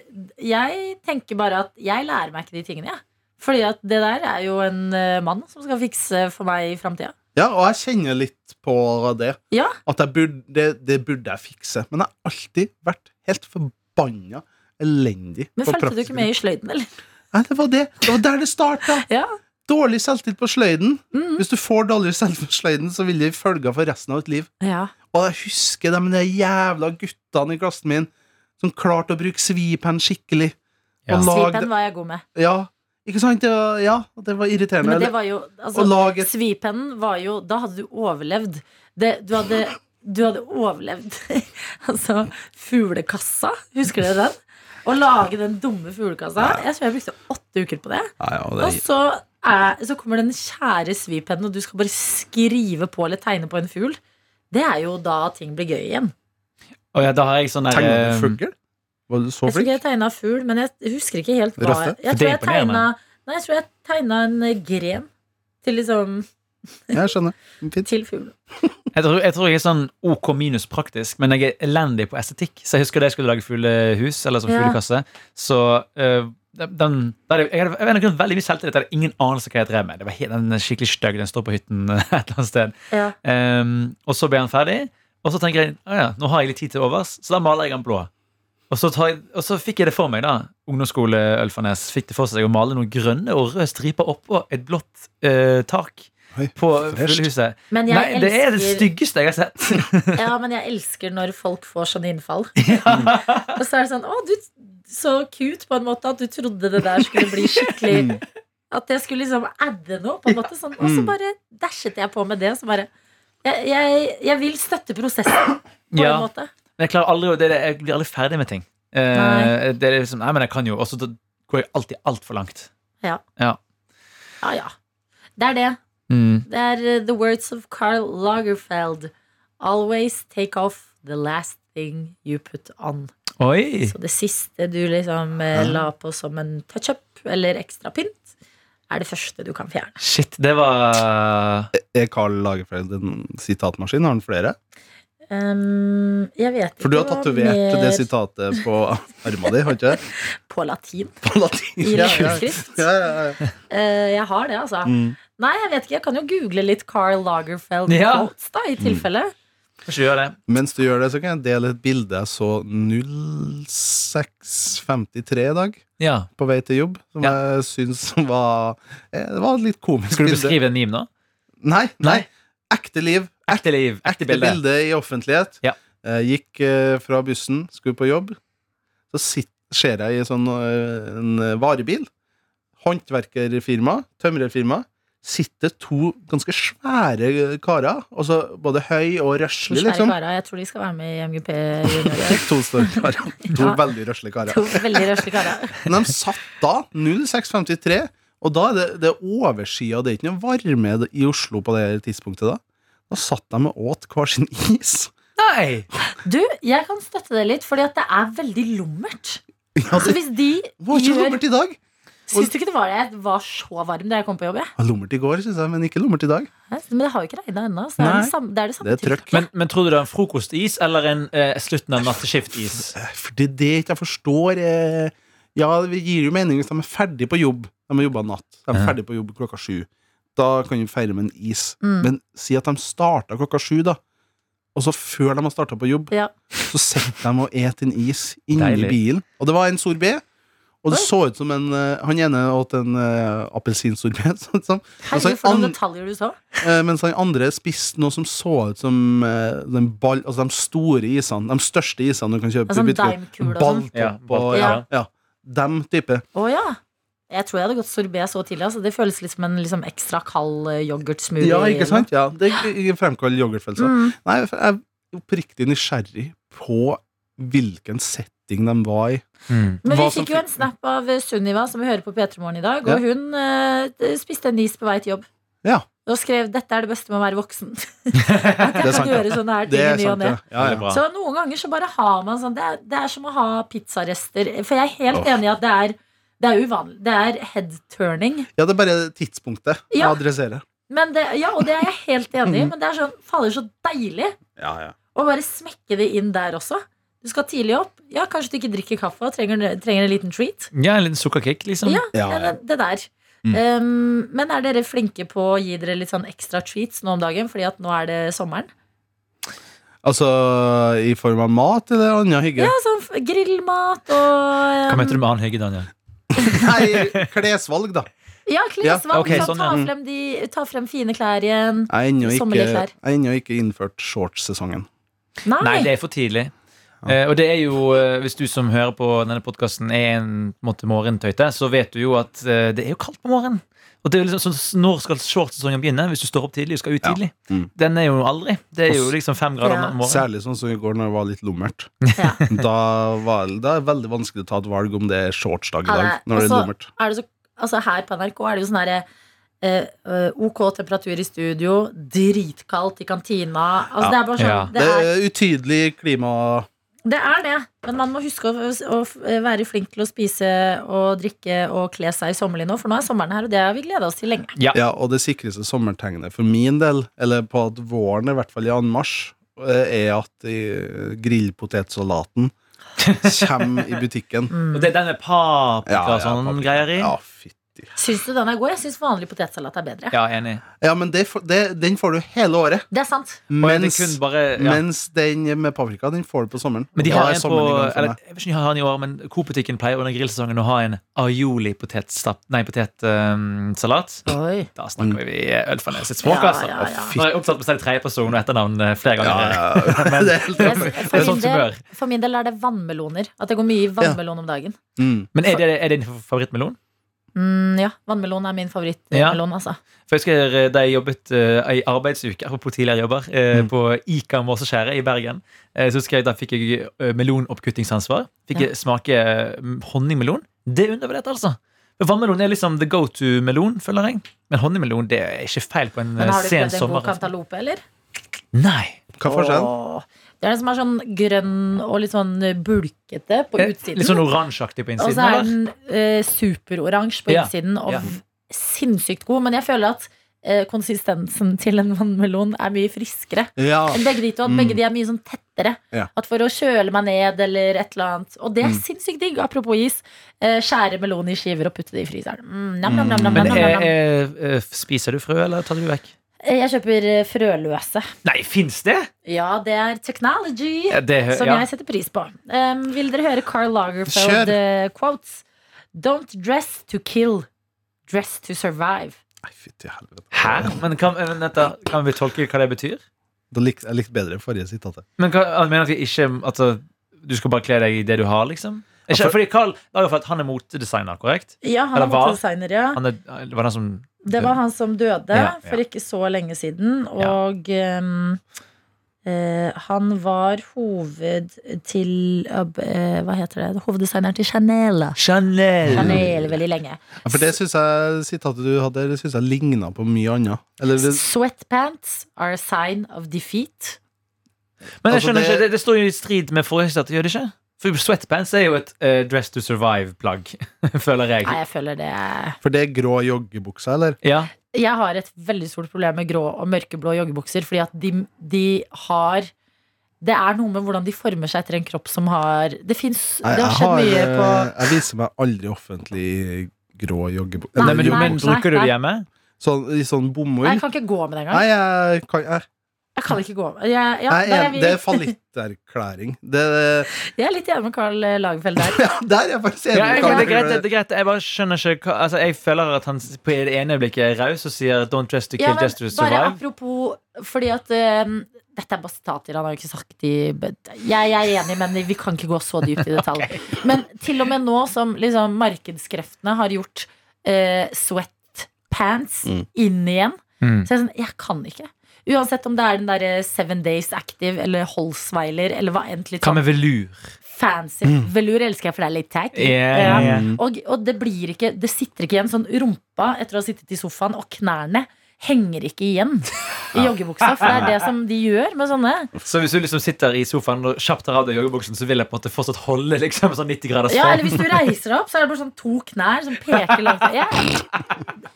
S2: Jeg tenker bare at jeg lærer meg ikke de tingene, jeg. Fordi at det der er jo en eh, mann som skal fikse for meg i framtida.
S4: Ja, og jeg kjenner litt på det.
S2: Ja.
S4: At jeg burde, det, det burde jeg fikse. Men jeg har alltid vært helt forbanna elendig.
S2: Men fulgte du ikke med i sløyden, eller?
S4: Nei, det var det. Det var der det starta.
S2: Ja.
S4: Dårlig selvtillit på sløyden.
S2: Mhm.
S4: Hvis du får dårlig selvtillit på sløyden, så vil det følger for resten av ditt liv.
S2: ja.
S4: Og jeg husker de, de jævla guttene i klassen min som klarte å bruke svipenn skikkelig.
S3: Ja.
S4: Og lage
S2: Svipen var jeg god med.
S4: Ja, ikke sant? Det var, ja, det var irriterende.
S2: Men det var jo altså,
S4: Å lage et
S2: Svipennen var jo Da hadde du overlevd. Det, du, hadde, du hadde overlevd altså fuglekassa. Husker dere den? Å lage den dumme fuglekassa. Jeg tror jeg brukte åtte uker på det.
S4: Nei, ja,
S2: Og
S4: det,
S2: så, er, så kommer den kjære svipennen, og du skal bare skrive på eller tegne på en fugl. Det er jo da ting blir gøy igjen.
S3: Og ja, da har jeg sånn der
S4: Tegna
S3: eh,
S4: du fugl? Var du så
S2: Jeg tror ikke
S4: flink?
S2: jeg tegna fugl, men jeg husker ikke helt hva
S4: Raffe?
S2: jeg, jeg
S3: For det
S2: tror
S3: er
S2: jeg tegna
S3: imponerende.
S2: Nei, jeg tror jeg tegna en eh, gren til liksom
S4: Jeg skjønner. Fint.
S2: Til fuglen.
S3: Jeg tror, jeg tror jeg er sånn OK minus praktisk, men jeg er elendig på estetikk. Så jeg husker da jeg skulle lage fuglehus, eller sånn
S2: Ja.
S3: fuglekasse, så øh, den, da hadde, jeg- jeg hadde jeg hadde en grunn veldig mye selvtillit. Jeg hadde ingen anelse hva jeg drev med. Det var helt, den er skikkelig stygg. Den står på hytten et eller annet sted.
S2: Ja.
S3: Ehm, og så ble han ferdig, og så tenker jeg «Å ja, nå har jeg litt tid til overs, så da maler jeg den blå. Og Og så, tar jeg, og så fikk jeg det for meg, da. Ungdomsskole Ølfarnes fikk det for seg å male noen grønne og røde striper oppå et blått eh, tak
S4: Oi,
S3: på
S4: fresht.
S3: fuglehuset.
S2: Men jeg,
S3: Nei, det er det
S2: elsker,
S3: styggeste jeg har sett.
S2: ja, men jeg elsker når folk får sånne innfall. Og så er det sånn Å, du så cute på en måte at du trodde det der skulle bli
S3: Mm.
S2: skikkelig At jeg skulle liksom adde noe, på en måte. Sånn. Og så
S4: Mm.
S2: bare dashet jeg på med det. Så bare Jeg, jeg, jeg vil støtte prosessen, på
S3: Ja.
S2: en måte.
S3: Men jeg klarer aldri å- det, er det, Jeg blir aldri ferdig med ting. Eh,
S2: Nei.
S3: det er liksom, nei, men jeg kan jo Og så da går jeg alltid altfor langt.
S2: Ja, ja. Det er det.
S3: Mm.
S2: Det er uh, the words of Carl Lagerfeld. Always take off the last thing you put on.
S3: Oi!
S2: Så det siste du liksom eh, la på som en touch-up eller ekstra pynt, er det første du kan fjerne.
S3: Shit, det var
S4: Er Karl Lagerfeld en sitatmaskin? Har han flere?
S2: Um, jeg vet
S4: For du har
S2: ikke hva
S4: tatovert
S2: mer-
S4: det sitatet på armen din, har du ikke det?
S2: På latin.
S4: På latin.
S2: I
S4: Ja, ja.
S2: latinskrift.
S4: Ja, ja, ja.
S2: Eh, jeg har det, altså.
S4: Mm.
S2: Nei, jeg vet ikke. Jeg kan jo google litt Carl Lagerfeld
S3: Ja.
S2: quotes, da,
S4: Mm.
S2: i tilfelle.
S3: Får ikke gjøre det.
S4: Mens du gjør det, så kan jeg dele et bilde jeg så 06.53 i dag.
S3: Ja.
S4: På vei til jobb, som
S3: Ja.
S4: jeg syns var eh, Det var et litt komisk
S3: Skal du
S4: bilde.
S3: beskrive en meme nå?
S4: Nei, nei. Ekte liv.
S3: Ekte liv.
S4: Ekte bilde. i offentlighet.
S3: Ja.
S4: Eh, Gikk eh, fra bussen, skulle på jobb. Så sitt- ser jeg i sånn, eh, en eh, varebil. Håndverkerfirma. Tømrerfirma. Sitter to ganske svære eh, karer. Og så både høy og røslig,
S2: Svære
S4: liksom.
S2: karer. Jeg tror de skal være med i MGP junior.
S4: To store karer. To
S2: Ja.
S4: veldig røslige karer.
S2: To veldig røslige karer.
S4: Men de satt da 06.53, og da er det, det er overskyet, og det er ikke noe varme i Oslo på det her tidspunktet da. Da satt de og åt hver sin is.
S3: Nei!
S2: Du, jeg kan støtte det litt, fordi at det er veldig lummert.
S4: Ja,
S2: Så
S4: det
S2: hvis de
S4: var ikke
S2: gjør
S4: lummert i dag.
S2: Syns du ikke det var det? Jeg var så varm da jeg kom på jobb, jeg.
S4: Det var Lummert i går, synes jeg, men ikke lummert i dag.
S2: Hæ? Men det har jo ikke regna ennå. Så det er
S4: Nei.
S2: det samme, det er det samme
S4: Det er trøkk.
S2: tiltaket.
S3: Men, men tror du det er en frokostis eller en eh, slutten av natteskiftis?
S4: Eh, For det er det ikke jeg forstår. eh, Ja, det gir jo mening hvis de er ferdig på jobb. De har jobbet natt. De er
S3: Ja.
S4: ferdig på jobb klokka sju. Da kan du feire med en is.
S2: Mm.
S4: Men si at de startet klokka sju da, og så før de har startet på jobb,
S2: Ja.
S4: Så sitter de og et en is inni
S3: Deilig.
S4: bilen. Og det var en sorbé. Og det
S2: Oi.
S4: så ut som en eh, Han ene åt en uh, appelsinsorbé, sånn som-
S2: Herregud,
S4: altså,
S2: for noen
S4: an-
S2: detaljer du så.
S4: eh, mens han andre spiste noe som så ut som eh, den ball, altså de store isene. De største isene du kan kjøpe.
S2: Altså,
S4: i
S2: en
S4: butikken.
S2: daimkule og sånn.
S4: Balltopp
S3: Ja, balltopp,
S4: og ja,
S3: ja.
S4: ja. Dem type.
S2: Å ja. Jeg tror jeg hadde gått sorbé så tidlig. Altså. Det føles litt som en liksom, ekstra kald eh, yoghurtsmoothie.
S4: Ja, ikke sant? Ja, det fremkaller yoghurtfølelse.
S2: Mm.
S4: Nei, for jeg er oppriktig nysgjerrig på hvilken setting de var i.
S2: Men vi
S4: Hva som
S2: fikk jo
S4: fikk-
S2: en snap av eh, Sunniva, som vi hører på P3 Morgen i dag.
S4: Ja.
S2: Og hun eh, spiste en is på vei til jobb.
S4: Ja,
S2: Og skrev 'Dette er det beste med å være voksen'. At jeg
S4: Det er
S2: kan
S4: sant, ja.
S2: gjøre sånne her
S4: det
S2: ting i
S4: er
S2: ny og
S4: sant,
S2: ne.
S4: ja. ja,
S3: Veldig
S4: ja.
S3: bra.
S2: Så noen ganger så bare har man sånn Det er, det er som å ha pizzarester. For jeg er helt
S4: Åh.
S2: enig i at det er, det er uvanlig. Det er head-turning.
S4: Ja, det er bare tidspunktet
S2: Ja.
S4: å adressere.
S2: Men det, ja, og det er jeg helt enig i. Men det er sånn Fader, så deilig
S4: Ja, ja.
S2: å bare smekke det inn der også. Du skal tidlig opp. Ja, kanskje du ikke drikker kaffe og trenger, trenger en liten treat.
S3: Ja, en liten sukkerkick, liksom.
S2: Ja,
S4: Ja,
S2: det,
S4: ja. Mm.
S2: det der. Um, men er dere flinke på å gi dere litt sånn ekstra treats nå om dagen? Fordi at nå er det sommeren.
S4: Altså i form av mat eller annen hygge?
S2: Ja, sånn f- grillmat og
S3: Hva
S2: um,
S3: mente du med annen hygge, Daniel?
S4: Nei, klesvalg, da.
S2: Ja, klesvalg.
S3: Ja, ok,
S2: sånn,
S3: sånn,
S2: ta,
S3: ja. Mm.
S2: frem de, ta frem fine klær igjen.
S4: Jeg har ennå ikke,
S2: Sommerklær.
S4: jeg har ennå ikke innført shorts-sesongen.
S2: Nei,
S3: Nei, det er for tidlig. Eh, og det er jo, eh, hvis du som hører på denne podkasten er en på en måte morgentøyte, så vet du jo at eh, det er jo kaldt på morgenen. Og det er jo liksom, så når skal shortsesongen begynne? Hvis du står opp tidlig og skal ut
S4: Ja.
S3: tidlig?
S4: Mm.
S3: Den er jo aldri. Det er jo liksom fem grader
S2: Ja.
S3: om morgenen.
S4: Særlig sånn som i går, når det var litt lummert.
S2: Ja.
S4: Da, var, da er det veldig vanskelig å ta et valg om det er shortsdag i
S2: Ja,
S4: dag.
S2: det er-
S4: Når det er
S2: altså-
S4: lummert
S2: er det så, altså her på NRK er det jo sånn herre eh, eh, ok temperatur i studio, dritkaldt i kantina. Altså,
S4: Ja.
S2: Det er bare sånn.
S3: Ja.
S2: Det, er,
S4: Det er utydelig klima
S2: det er det. Men man må huske å, å f- eh, være flink til å spise og drikke og kle seg sommerlig nå, for nå er sommeren her, og det har vi gleda oss til lenge.
S3: Ja.
S4: Ja, og det sikreste sommertegnet for min del, eller på at våren er i hvert fall i anmarsj, eh, er at eh, grillpotetsalaten kommer i butikken.
S2: Mm.
S3: Og det er den med paprika
S4: Ja,
S3: og
S4: ja,
S3: sånn
S4: paprika.
S3: greier i.
S4: Ja, fytti vanvittig.
S2: Syns du den er god? Jeg syns vanlig potetsalat er bedre.
S3: Ja, enig.
S4: Ja, men det, får- det, den får du hele året.
S2: Det er sant.
S3: Og det er
S4: Mens,
S3: kun bare, ja.
S4: mens den med paprika, den får du på sommeren.
S3: Men de
S4: Og da
S3: har
S4: er
S3: en på
S4: sommeren i gang for
S3: eller,
S4: meg.
S3: Jeg vet ikke om de har den i år, men Coop-butikken pleier under grillsesongen å ha en aioli-potetsalat. Nei, potetsalat.
S2: Oi.
S3: Da
S4: Mm.
S3: snakker vi ølfernes sitt språk,
S2: Ja,
S3: altså.
S2: ja, ja.
S3: Nå har jeg opptatt med seg tredjeperson og etternavn eh, flere ganger.
S4: Ja, det er helt
S2: Jeg-
S4: enig.
S3: Det er
S2: for, min
S3: sånt
S2: del,
S3: humør.
S2: for min del er det vannmeloner. At det går mye i vannmelon om dagen.
S4: Mm.
S3: Men er det, er det din favorittmelon?
S2: Mm, ja, vannmelon er min favorittmelon, altså.
S3: For jeg husker eh, da jeg jobbet eh, ei arbeidsuke apropos tidligere jobber, eh,
S4: Mm.
S3: på Ika Måseskjæret i Bergen, eh, så husker jeg da fikk jeg eh, melonoppkuttingsansvar. Fikk
S2: Ja.
S3: jeg smake eh, honningmelon. Det er undervurdert, altså. For Vannmelon er liksom the go to-melon, føler jeg. Men honningmelon det er ikke feil på en
S2: Men
S3: eh,
S2: har du
S3: sen
S2: prøvd en god
S3: sommer.
S2: cantaloupe, eller?
S3: Nei.
S4: Hva er forskjellen?
S2: Åh. Det er den som er sånn grønn og litt sånn bulkete på
S3: Eh,
S2: utsiden.
S3: Litt sånn oransjeaktig på
S2: og
S3: innsiden,
S2: så er
S3: eller?
S2: den eh, superoransje på
S3: Ja,
S2: innsiden og
S3: ja.
S2: v- sinnssykt god. Men jeg føler at eh, konsistensen til en vannmelon er mye friskere.
S4: Ja.
S3: Ah.
S2: enn Begge de to, at
S4: Mm.
S2: begge de er mye sånn tettere.
S4: Ja.
S2: At for å kjøle meg ned eller et eller annet. Og det er
S4: Mm.
S2: sinnssykt digg, apropos is. Eh, skjære melon i skiver og putte det i fryseren. Mm, nam, nam, nam, nam,
S3: Men
S2: nam,
S3: eh,
S2: nam, nam.
S3: eh, spiser du frø, eller tar du vekk?
S2: Eh, Jeg kjøper eh, frøløse.
S3: Nei, fins det?!
S2: Ja, det er technology.
S3: Ja, det,
S2: som
S3: Eh, ja.
S2: jeg setter pris på. Um, vil dere høre Carl
S4: Kjør.
S2: Lagerfeld eh, quotes? Don't dress to kill, dress to survive.
S4: Nei, fytti helvete.
S3: Hæ? Men kan, men dette- kan vi tolke hva det betyr?
S4: Da likte jeg likte bedre enn forrige sitatet.
S3: Men hva, han mener at vi ikke altså, Du skal bare kle deg i det du har, liksom? Ikke,
S4: Ja, for-
S3: fordi Carl Lagerfeldt han er motedesigner, korrekt?
S2: Ja, han
S3: Eller
S2: er
S3: hva?
S2: motedesigner, ja.
S3: Han er, det var han som
S2: Det var han som døde
S3: Ja, ja.
S2: for ikke så lenge siden, og um, eh, han var hoved til eh, Hva heter det? Hoveddesigneren til Chanel.
S3: Chanel!
S2: Chanel veldig lenge.
S4: Ja, for det synes jeg sitatet du hadde, det synes jeg ligna på mye annet. Eller det,
S2: Sweatpants are a sign of defeat.
S3: Men jeg
S4: Altså,
S3: skjønner
S4: det-
S3: ikke, det, det står jo i strid med forrige stat, gjør det ikke? For sweatpants er jo et eh, dress to survive-plagg, føler
S2: Nei,
S3: jeg.
S2: jeg føler det
S4: for det er grå joggebukser, eller?
S3: Ja.
S2: jeg har et veldig stort problem med grå og mørkeblå joggebukser. Fordi at de, de har Det er noe med hvordan de former seg etter en kropp som har Det, finnes,
S4: Nei,
S2: det har
S4: jeg
S2: skjedd
S4: har,
S2: mye på
S4: eh, Jeg viser meg aldri offentlig i grå joggebukser.
S2: Nei,
S3: Nei, men, du,
S4: jo,
S3: men
S2: nei,
S3: Bruker du
S2: nei.
S3: det hjemme?
S4: Sånn, I sånn
S2: Nei,
S4: bomull.
S2: Jeg kan ikke gå med det engang.
S4: Nei, jeg kan jeg,
S2: Jeg kan ikke gå med jeg, ja,
S4: jeg,
S2: der
S4: er
S2: er
S4: en-
S2: vi,
S4: Det er fallitterklæring. Det,
S2: jeg er litt enig med Carl eh, Lagerfeld der.
S4: ja, der er jeg faktisk enig.
S3: Ja, jeg,
S4: Karl.
S3: det, er greit, det er greit, jeg bare skjønner ikke hva altså, Jeg føler at han på det ene øyeblikket er raus og sier 'don't dress to kill,
S2: Ja, men
S3: dress to
S2: bare
S3: survive'.
S2: apropos Fordi at eh, Dette er bare sitater, han har jo ikke sagt de jeg, jeg er enig, men vi kan ikke gå så dypt i detalj. Men til og med nå som liksom, markedskreftene har gjort eh, sweatpants
S4: Mm.
S2: inn igjen,
S3: Mm.
S2: så er jeg sånn Jeg kan ikke. Uansett om det er den derre Seven Days Active eller Holsweiler eller hva enn litt
S3: Hva
S2: sånn
S3: med velur?
S2: fancy. Velur elsker jeg, for det er litt tacky.
S3: Mm. Ja, ja, ja.
S4: Mm.
S2: Og, og det blir ikke Det sitter ikke igjen sånn rumpa etter å ha sittet i sofaen, og knærne henger ikke igjen i joggebuksa. For det er det som de gjør med sånne.
S3: Så hvis du liksom sitter i sofaen og kjapt tar av deg joggebuksen, så vil jeg på en måte fortsatt holde liksom sånn 90 graders
S2: Ja, eller
S3: form?
S2: hvis du reiser deg opp, så er det bare sånn to knær som peker langt ja.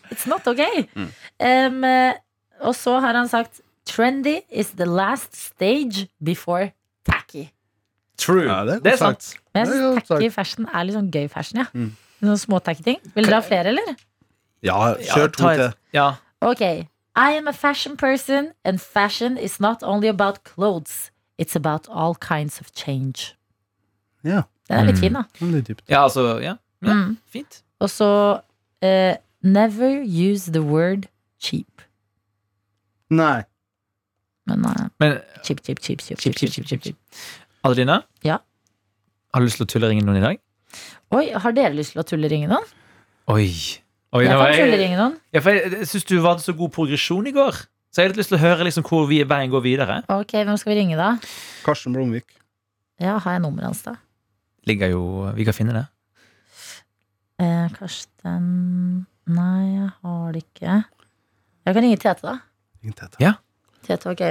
S2: It's not okay.
S4: Mm.
S2: Um, eh, og så har han sagt Trendy is the last stage before tacky.
S3: True.
S4: Ja, det er godt
S3: det er sant.
S4: sagt.
S2: Men jeg
S4: Det er
S2: synes
S4: godt sagt.
S2: tacky fashion er litt sånn gøy fashion, ja.
S4: Mm.
S2: Sånn småtacky ting. Vil dere ha flere, eller?
S4: Ja, kjør to
S3: ta et-
S4: til.
S3: Ja.
S2: Okay, I am a fashion person, and fashion is not only about clothes. It's about all kinds of change.
S4: Ja,
S2: Den er litt
S3: Mm.
S2: fin, da.
S4: det er dypt.
S3: ja, altså Ja, ja
S2: Mm.
S3: fint.
S2: Og så eh, Never use the word cheap.
S4: Nei.
S2: Men eh,
S3: Men
S2: cheap, cheap, cheap, cheap, cheap, cheap, cheap, cheap, cheap.
S3: Adelina?
S2: Ja.
S3: Har du lyst til å tulleringe noen i dag?
S2: Oi, har dere lyst til å tulleringe noen?
S3: Oi. Oi
S2: Jeg
S3: nå,
S2: kan
S3: jeg,
S2: tulleringe noen.
S3: ja, for jeg, jeg syns du hadde så god progresjon i går. Så jeg har litt lyst til å høre liksom hvor vi, veien går videre.
S2: Ok, hvem skal vi ringe, da?
S4: Karsten Blomvik.
S2: Ja, har jeg nummeret hans, da?
S3: Ligger jo Vi kan finne det.
S2: Eh, Karsten Nei, jeg har det ikke. Jeg kan ringe Tete, da.
S4: Ingen tete.
S3: Ja.
S2: Tete, ok.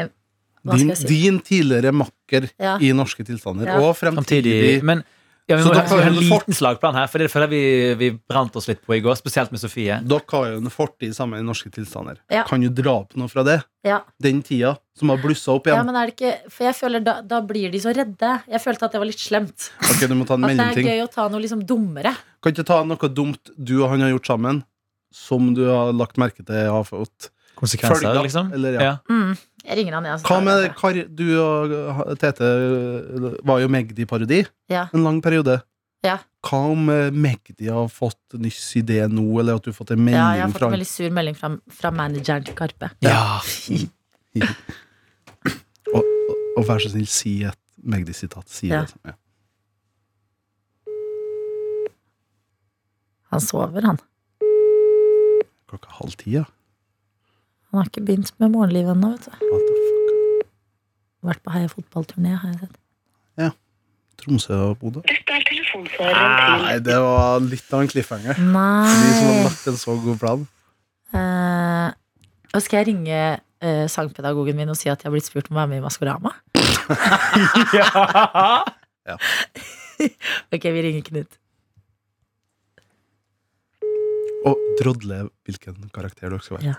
S2: Hva skal
S4: Din,
S2: jeg si?
S4: din tidligere makker
S2: Ja.
S4: i norske tilstander,
S2: Ja.
S4: og fremtidig
S3: Samtidig Men ja, vi
S4: Så
S3: må
S4: da
S3: ha
S4: kan
S3: vi har en
S4: du fort-
S3: liten slagplan her, for det føler jeg vi, vi brant oss litt på i går. Spesielt med Sofie.
S4: Dere har jo en fortid sammen i norske tilstander.
S2: Ja.
S4: Kan du dra opp noe fra det?
S2: Ja.
S4: Den tida som har blussa opp
S2: Ja,
S4: igjen?
S2: men er det ikke For jeg føler da, da blir de så redde. Jeg følte at det var litt slemt.
S4: Ok, du må ta en
S2: At det er
S4: mellomting.
S2: gøy å ta noe liksom dummere.
S4: Kan ikke ta noe dumt du og han har gjort sammen, som du har lagt merke til har fått
S3: Konsekvenser,
S4: følger,
S3: liksom.
S4: Eller, ja.
S3: Ja.
S2: Mm. Jeg ringer han, jeg. altså.
S4: Hva med Kar, du og eh, Tete eh, var jo Magdi-parodi
S2: Ja.
S4: en lang periode.
S2: Ja.
S4: Hva om eh, Magdi har fått nyss idé nå, eller at du har fått en melding
S2: Ja, jeg har fått
S4: fra
S2: en veldig sur melding fra, fra manageren til Karpe.
S3: Ja.
S4: og, og, og vær så snill, si et Magdi-sitat. Si
S2: Ja.
S4: det. Ja.
S2: Han sover, han.
S4: Klokka halv ti, ja.
S2: Han har ikke begynt med morgenlivet ennå, vet du.
S4: What the fuck?
S2: Vært på Heia fotballturné, har jeg sett.
S4: Tromsø og Bodø? Ah,
S6: Dette er telefonsvareren
S4: Nei, det var litt av en cliffhanger. De som har
S2: Nei!
S4: lagt en så god plan.
S2: Eh, og skal jeg ringe eh, sangpedagogen min og si at jeg har blitt spurt om å være med i Maskorama?
S4: Ja.
S2: ok, vi ringer Knut.
S4: Og drodle hvilken karakter dere skal være.
S2: Ja.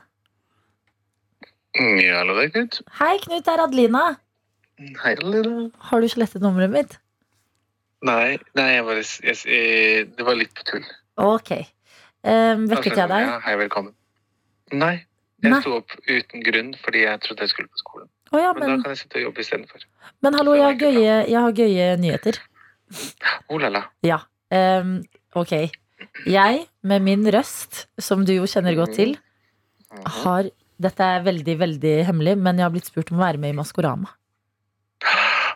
S6: til Ja, hallo, det er Knut.
S2: Hei, Knut, det er Adelina.
S6: Hei, Lilla.
S2: Har du slettet nummeret mitt?
S6: Nei, nei jeg bare, jeg, jeg, det var litt på tull.
S2: Ok. Eh, vekket jeg deg?
S6: Ja, hei, velkommen. Nei, jeg
S2: Nei.
S6: sto opp uten grunn fordi jeg trodde jeg skulle på skolen.
S2: Å ja,
S6: Men, da
S2: men,
S6: kan jeg sitte og jobbe istedenfor.
S2: men hallo, jeg har gøye, jeg har gøye nyheter.
S6: Oh la la.
S2: Ja. ehm, ok. Jeg, med min røst, som du jo kjenner godt til,
S6: Mm, Mhm.
S2: har Dette er veldig, veldig hemmelig, men jeg har blitt spurt om å være med i Maskorama.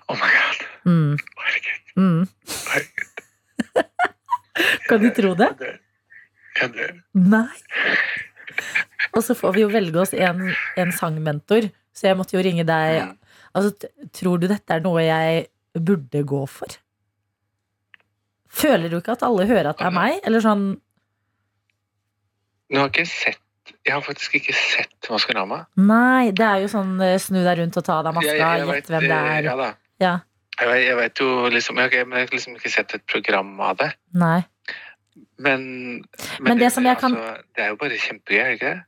S6: Oh my god.
S2: Mm,
S6: Herregud.
S2: mm. Kan du tro det?
S6: Jeg dør. Jeg dør.
S2: Nei. Og så får vi jo velge oss en, en sangmentor, så jeg måtte jo ringe
S6: Mm.
S2: deg. Altså, t- tror du dette er noe jeg burde gå for? Føler du ikke at alle hører at det er meg? Eller sånn
S6: Nå har jeg ikke sett Jeg har faktisk ikke sett Maskorama.
S2: Nei, det er jo sånn eh, snu deg rundt og ta av deg
S6: Jeg-
S2: maska,
S6: jeg vet,
S2: gjett hvem det
S6: eh,
S2: er.
S6: Ja da.
S2: Ja.
S6: Jeg vet, jeg vet jo liksom ja, ok, Men jeg har liksom ikke sett et program av det.
S2: Nei.
S6: Men,
S2: Men det som jeg kan-
S6: altså, Det er jo bare kjempegøy, er det ikke det?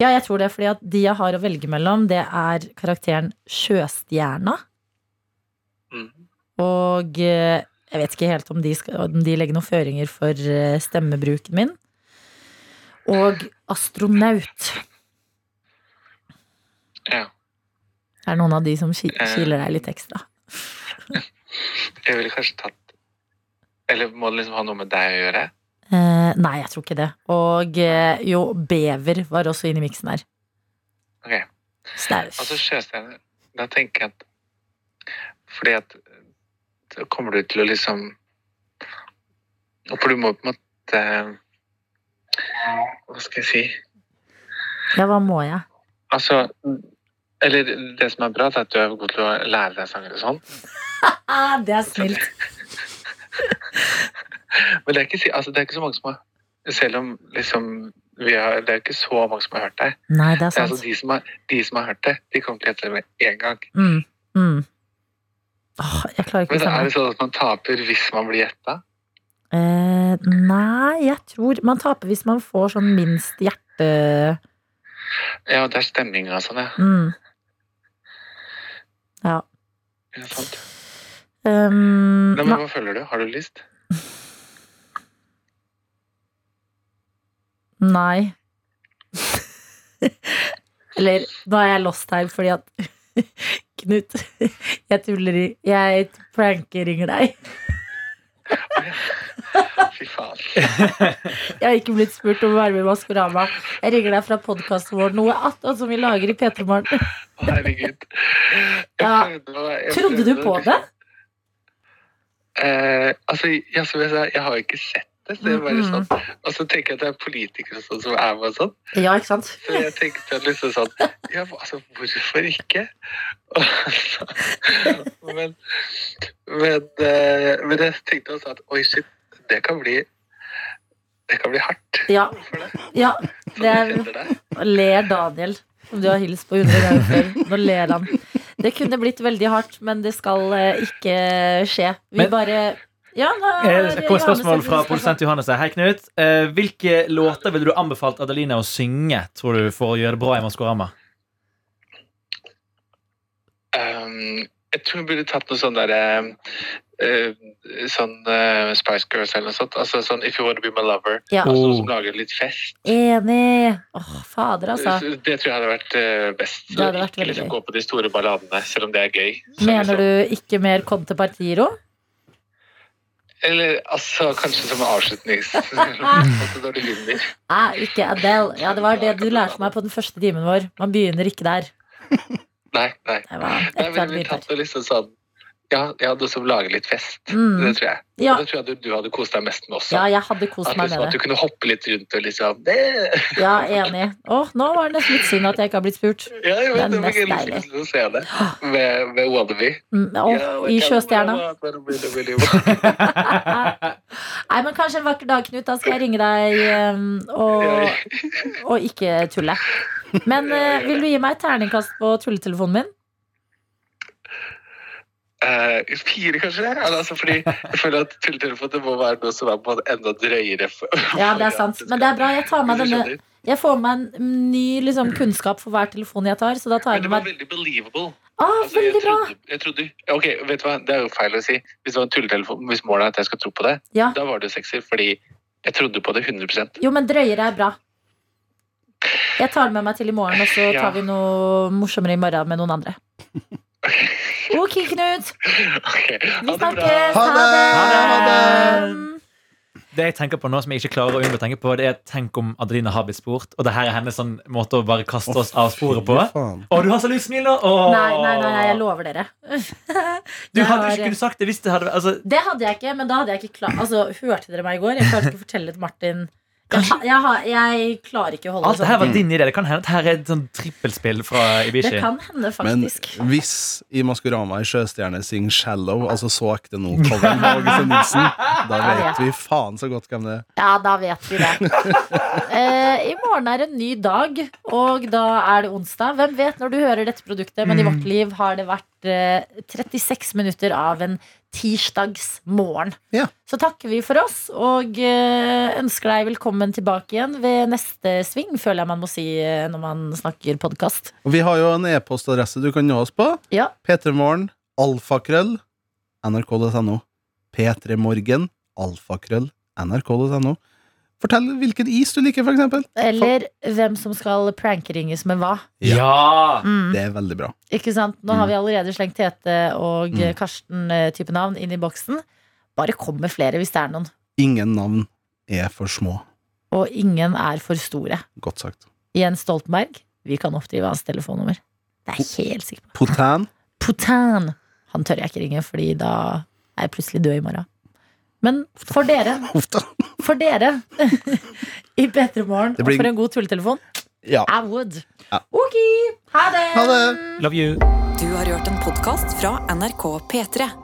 S2: Ja, jeg tror det, fordi at de jeg har å velge mellom, det er karakteren Sjøstjerna.
S6: Mm.
S2: Og eh, jeg vet ikke helt om de, skal, om de legger noen føringer for eh, stemmebruken min. Og astronaut.
S6: Ja.
S2: Det er noen av de som ki-
S6: Eh.
S2: kiler deg litt ekstra.
S6: Jeg ville kanskje tatt Eller må det liksom ha noe med deg å gjøre?
S2: Eh, nei, jeg tror ikke det. Og eh, jo, bever var også inne i miksen her.
S6: Ok.
S2: Så det er jo-
S6: Altså sjøstjerne, da tenker jeg at Fordi at da kommer du til å liksom For du må på en måte Hva skal jeg si?
S2: Ja, hva må jeg?
S6: Altså Eller det som er bra, det er at du er god til å lære deg sanger og sånn.
S2: Ah, det er snilt.
S6: Men det er ikke, si- altså, det er ikke så mange som har Selv om liksom vi har, Det er jo ikke så mange som har hørt deg.
S2: Nei, det er
S6: Altså,
S2: sant.
S6: de, som har, de som har hørt det, de kommer til å hete det med en gang.
S2: Mm, mm. Åh, jeg klarer ikke
S6: Men
S2: å
S6: er
S2: samle
S6: det sånn at man taper hvis man blir gjetta?
S2: Eh, nei, jeg tror man taper hvis man får sånn minst hjerte...
S6: Ja, det er stemninga og sånn, ja.
S2: Mm. Ja.
S6: ja sant.
S2: Um,
S6: Nei, men
S2: nei,
S6: hva føler du? Har du lyst?
S2: nei. Eller, nå er jeg lost her, fordi at Knut, jeg tuller i Jeg prankeringer deg.
S6: Fy faen.
S2: Jeg har ikke blitt spurt om å være med i Maskorama. Jeg ringer deg fra podkasten vår, noe attåt som vi lager i P3 Morgen.
S6: Å, Herregud. Jeg
S2: Ja,
S6: prøvde å- jeg
S2: Trodde du
S6: prøvde å
S2: på
S6: liksom-
S2: det?
S6: Eh, altså, ja, som jeg sa, jeg har jo ikke sett det. Så jeg bare
S2: Mm, mm.
S6: sånn. Og så tenker jeg at det er politikere og sånn som er med og sånn.
S2: Ja, ikke sant?
S6: Så jeg tenkte at liksom sånn Ja, altså, hvorfor ikke? Og så, men men, eh, men jeg tenkte også at oi, shit, det kan bli Det kan bli hardt
S2: Ja.
S6: for deg.
S2: ja
S6: Sånn
S2: det er
S6: jeg kjenner det.
S2: Og ler Daniel, som du har hilst på 100 ganger før. Nå ler han. Det kunne blitt veldig hardt, men det skal eh, ikke skje. Vi
S3: Men-
S2: bare ja, nå
S3: Eh,
S2: har
S3: Det kom et spørsmål
S2: Johannes-
S3: fra produsent Johannes. her. Hei, Knut. Eh, Hvilke låter ville du anbefalt Adelina å synge tror du, for å gjøre det bra i Maskorama?
S6: Um, Ehm, jeg tror hun burde tatt noe sånn derre eh, sånn eh, Spice Girls eller noe sånt. Altså sånn If You Wanna Be My Lover.
S2: Ja.
S6: Altså,
S3: Oh.
S6: som lager litt fest.
S2: Enig! Åh, fader, altså.
S6: Så Det tror jeg hadde vært eh, best.
S2: Det hadde vært
S6: Ikke
S2: veldig
S6: liksom,
S2: gøy.
S6: Gå på de store balladene, selv om det er gøy. Så
S2: Mener
S6: liksom,
S2: du ikke mer Conte Partiro?
S6: Eller altså, kanskje som en avslutnings... altså, når du vinner.
S2: Nei, ikke Adele. Ja, det var det du lærte meg på den første timen vår. Man begynner ikke der.
S6: Nei, nei.
S2: Det var et
S6: Nei,
S2: eller
S6: men
S2: annet
S6: vi
S2: dyrt
S6: tatt
S2: der.
S6: det liksom sånn Ja, ja du som lager litt fest.
S2: Mm.
S6: Det tror jeg.
S2: Ja,
S6: Og det tror jeg du, du hadde kost deg mest med også.
S2: ja, jeg hadde kost
S6: at,
S2: meg
S6: liksom,
S2: med
S6: at
S2: det.
S6: du kunne hoppe litt rundt og liksom det,
S2: Ja, enig. Åh, nå var det nesten litt synd at jeg ikke har blitt spurt.
S6: Ja, jeg vet,
S2: Det er
S6: det var gøy
S2: mest
S6: liksom, å se det med, med Wannabe.
S2: Mm, åh, I Sjøstjerna. Nei, men kanskje en vakker dag, Knut, da skal jeg ringe deg ehm, og, og ikke tulle. Men eh, vil du gi meg et terningkast på tulletelefonen min?
S6: Eh, fire, kanskje? Eller, altså, fordi jeg føler at tulletelefon det må være noe som er på en enda drøyere for-
S2: Ja, det er sant. Men det er bra. Jeg tar med
S6: Hvis du
S2: denne
S6: skjønner.
S2: Jeg får med en ny liksom, kunnskap for hver telefon jeg tar, så da tar
S6: Men
S2: jeg
S6: det
S2: med
S6: var
S2: meg
S6: veldig believable.
S2: ah,
S6: Altså, jeg
S2: Veldig bra!
S6: trodde, jeg trodde, ok, vet du hva, Det er jo feil å si. Hvis det var en tulletelefon, hvis målet er at jeg skal tro på det,
S2: Ja.
S6: da var det jo sexy. Fordi jeg trodde på det 100
S2: Jo, men drøyere er bra. Jeg tar den med meg til i morgen, og så
S6: Ja.
S2: tar vi noe morsommere i morgen med noen andre. Ok, Knut. Vi
S6: Ok, ha det bra.
S2: snakkes.
S4: Ha det!
S2: Ha det!
S3: Det jeg tenker på nå, som jeg ikke klarer å unngå å tenke på, det er tenk om Adelina har blitt spurt, og det her er hennes sånn måte å bare kaste oss av sporet på. Å,
S7: faen.
S3: du har så lyst smil, da! Åh.
S2: Nei, nei, nei, nei, jeg lover dere.
S3: Du
S2: Jeg
S3: hadde
S2: har-
S3: ikke kunnet sagt det hvis det hadde vært altså,
S2: Det hadde jeg ikke, men da hadde jeg ikke klart Altså, hørte dere meg i går? Jeg klarte ikke å fortelle til Martin. Jeg, ha- jeg, har- jeg klarer ikke å holde
S3: Alt det her
S2: sånn.
S3: var din idé. Det kan hende at her er et sånn trippelspill fra
S2: Det
S3: Ibishi.
S2: kan hende,
S4: Men
S2: faktisk.
S4: hvis i Maskorama i Sjøstjerne synger 'Shallow', altså så ekte nå-coveren med Åge Nilsen, da vet vi faen så godt hvem det er.
S2: Ja, da vet vi det. Eh, I morgen er en ny dag, og da er det onsdag. Hvem vet når du hører dette produktet, men i
S4: Mm.
S2: vårt liv har det vært eh, 36 minutter av en tirsdagsmorgen.
S4: Ja.
S2: Så takker vi for oss, og eh, ønsker deg velkommen tilbake igjen ved neste sving, føler jeg man må si eh, når man snakker podkast.
S4: Og vi har jo en e-postadresse du kan nå oss på.
S2: Ja.
S4: P3morgen, alfakrøll, nrk.no. P3morgen, alfakrøll, nrk.no. Fortell hvilken is du liker, for eksempel.
S2: Eller hvem som skal prankeringes med hva.
S3: Ja!
S2: Mm.
S4: Det er veldig bra.
S2: Ikke sant? Nå har vi allerede slengt Tete og eh,
S4: Mm.
S2: Karsten-type navn inn i boksen. Bare kom med flere hvis det er noen.
S4: Ingen navn er for små.
S2: Og ingen er for store.
S4: Godt sagt.
S2: Jens Stoltenberg, vi kan oppdrive hans telefonnummer. Det er jeg helt sikker på.
S4: Potan.
S2: Potan! Han tør jeg ikke ringe, fordi da er jeg plutselig død i morgen. Men for dere,
S4: Uff da.
S2: for dere i P3 Morgen
S4: Det blir-
S2: og for en god tulletelefon,
S4: Ja.
S2: I would.
S4: Ja.
S2: Ok, ha det!
S4: Ha det!
S3: Love you.
S1: Du har hørt en podkast fra NRK P3.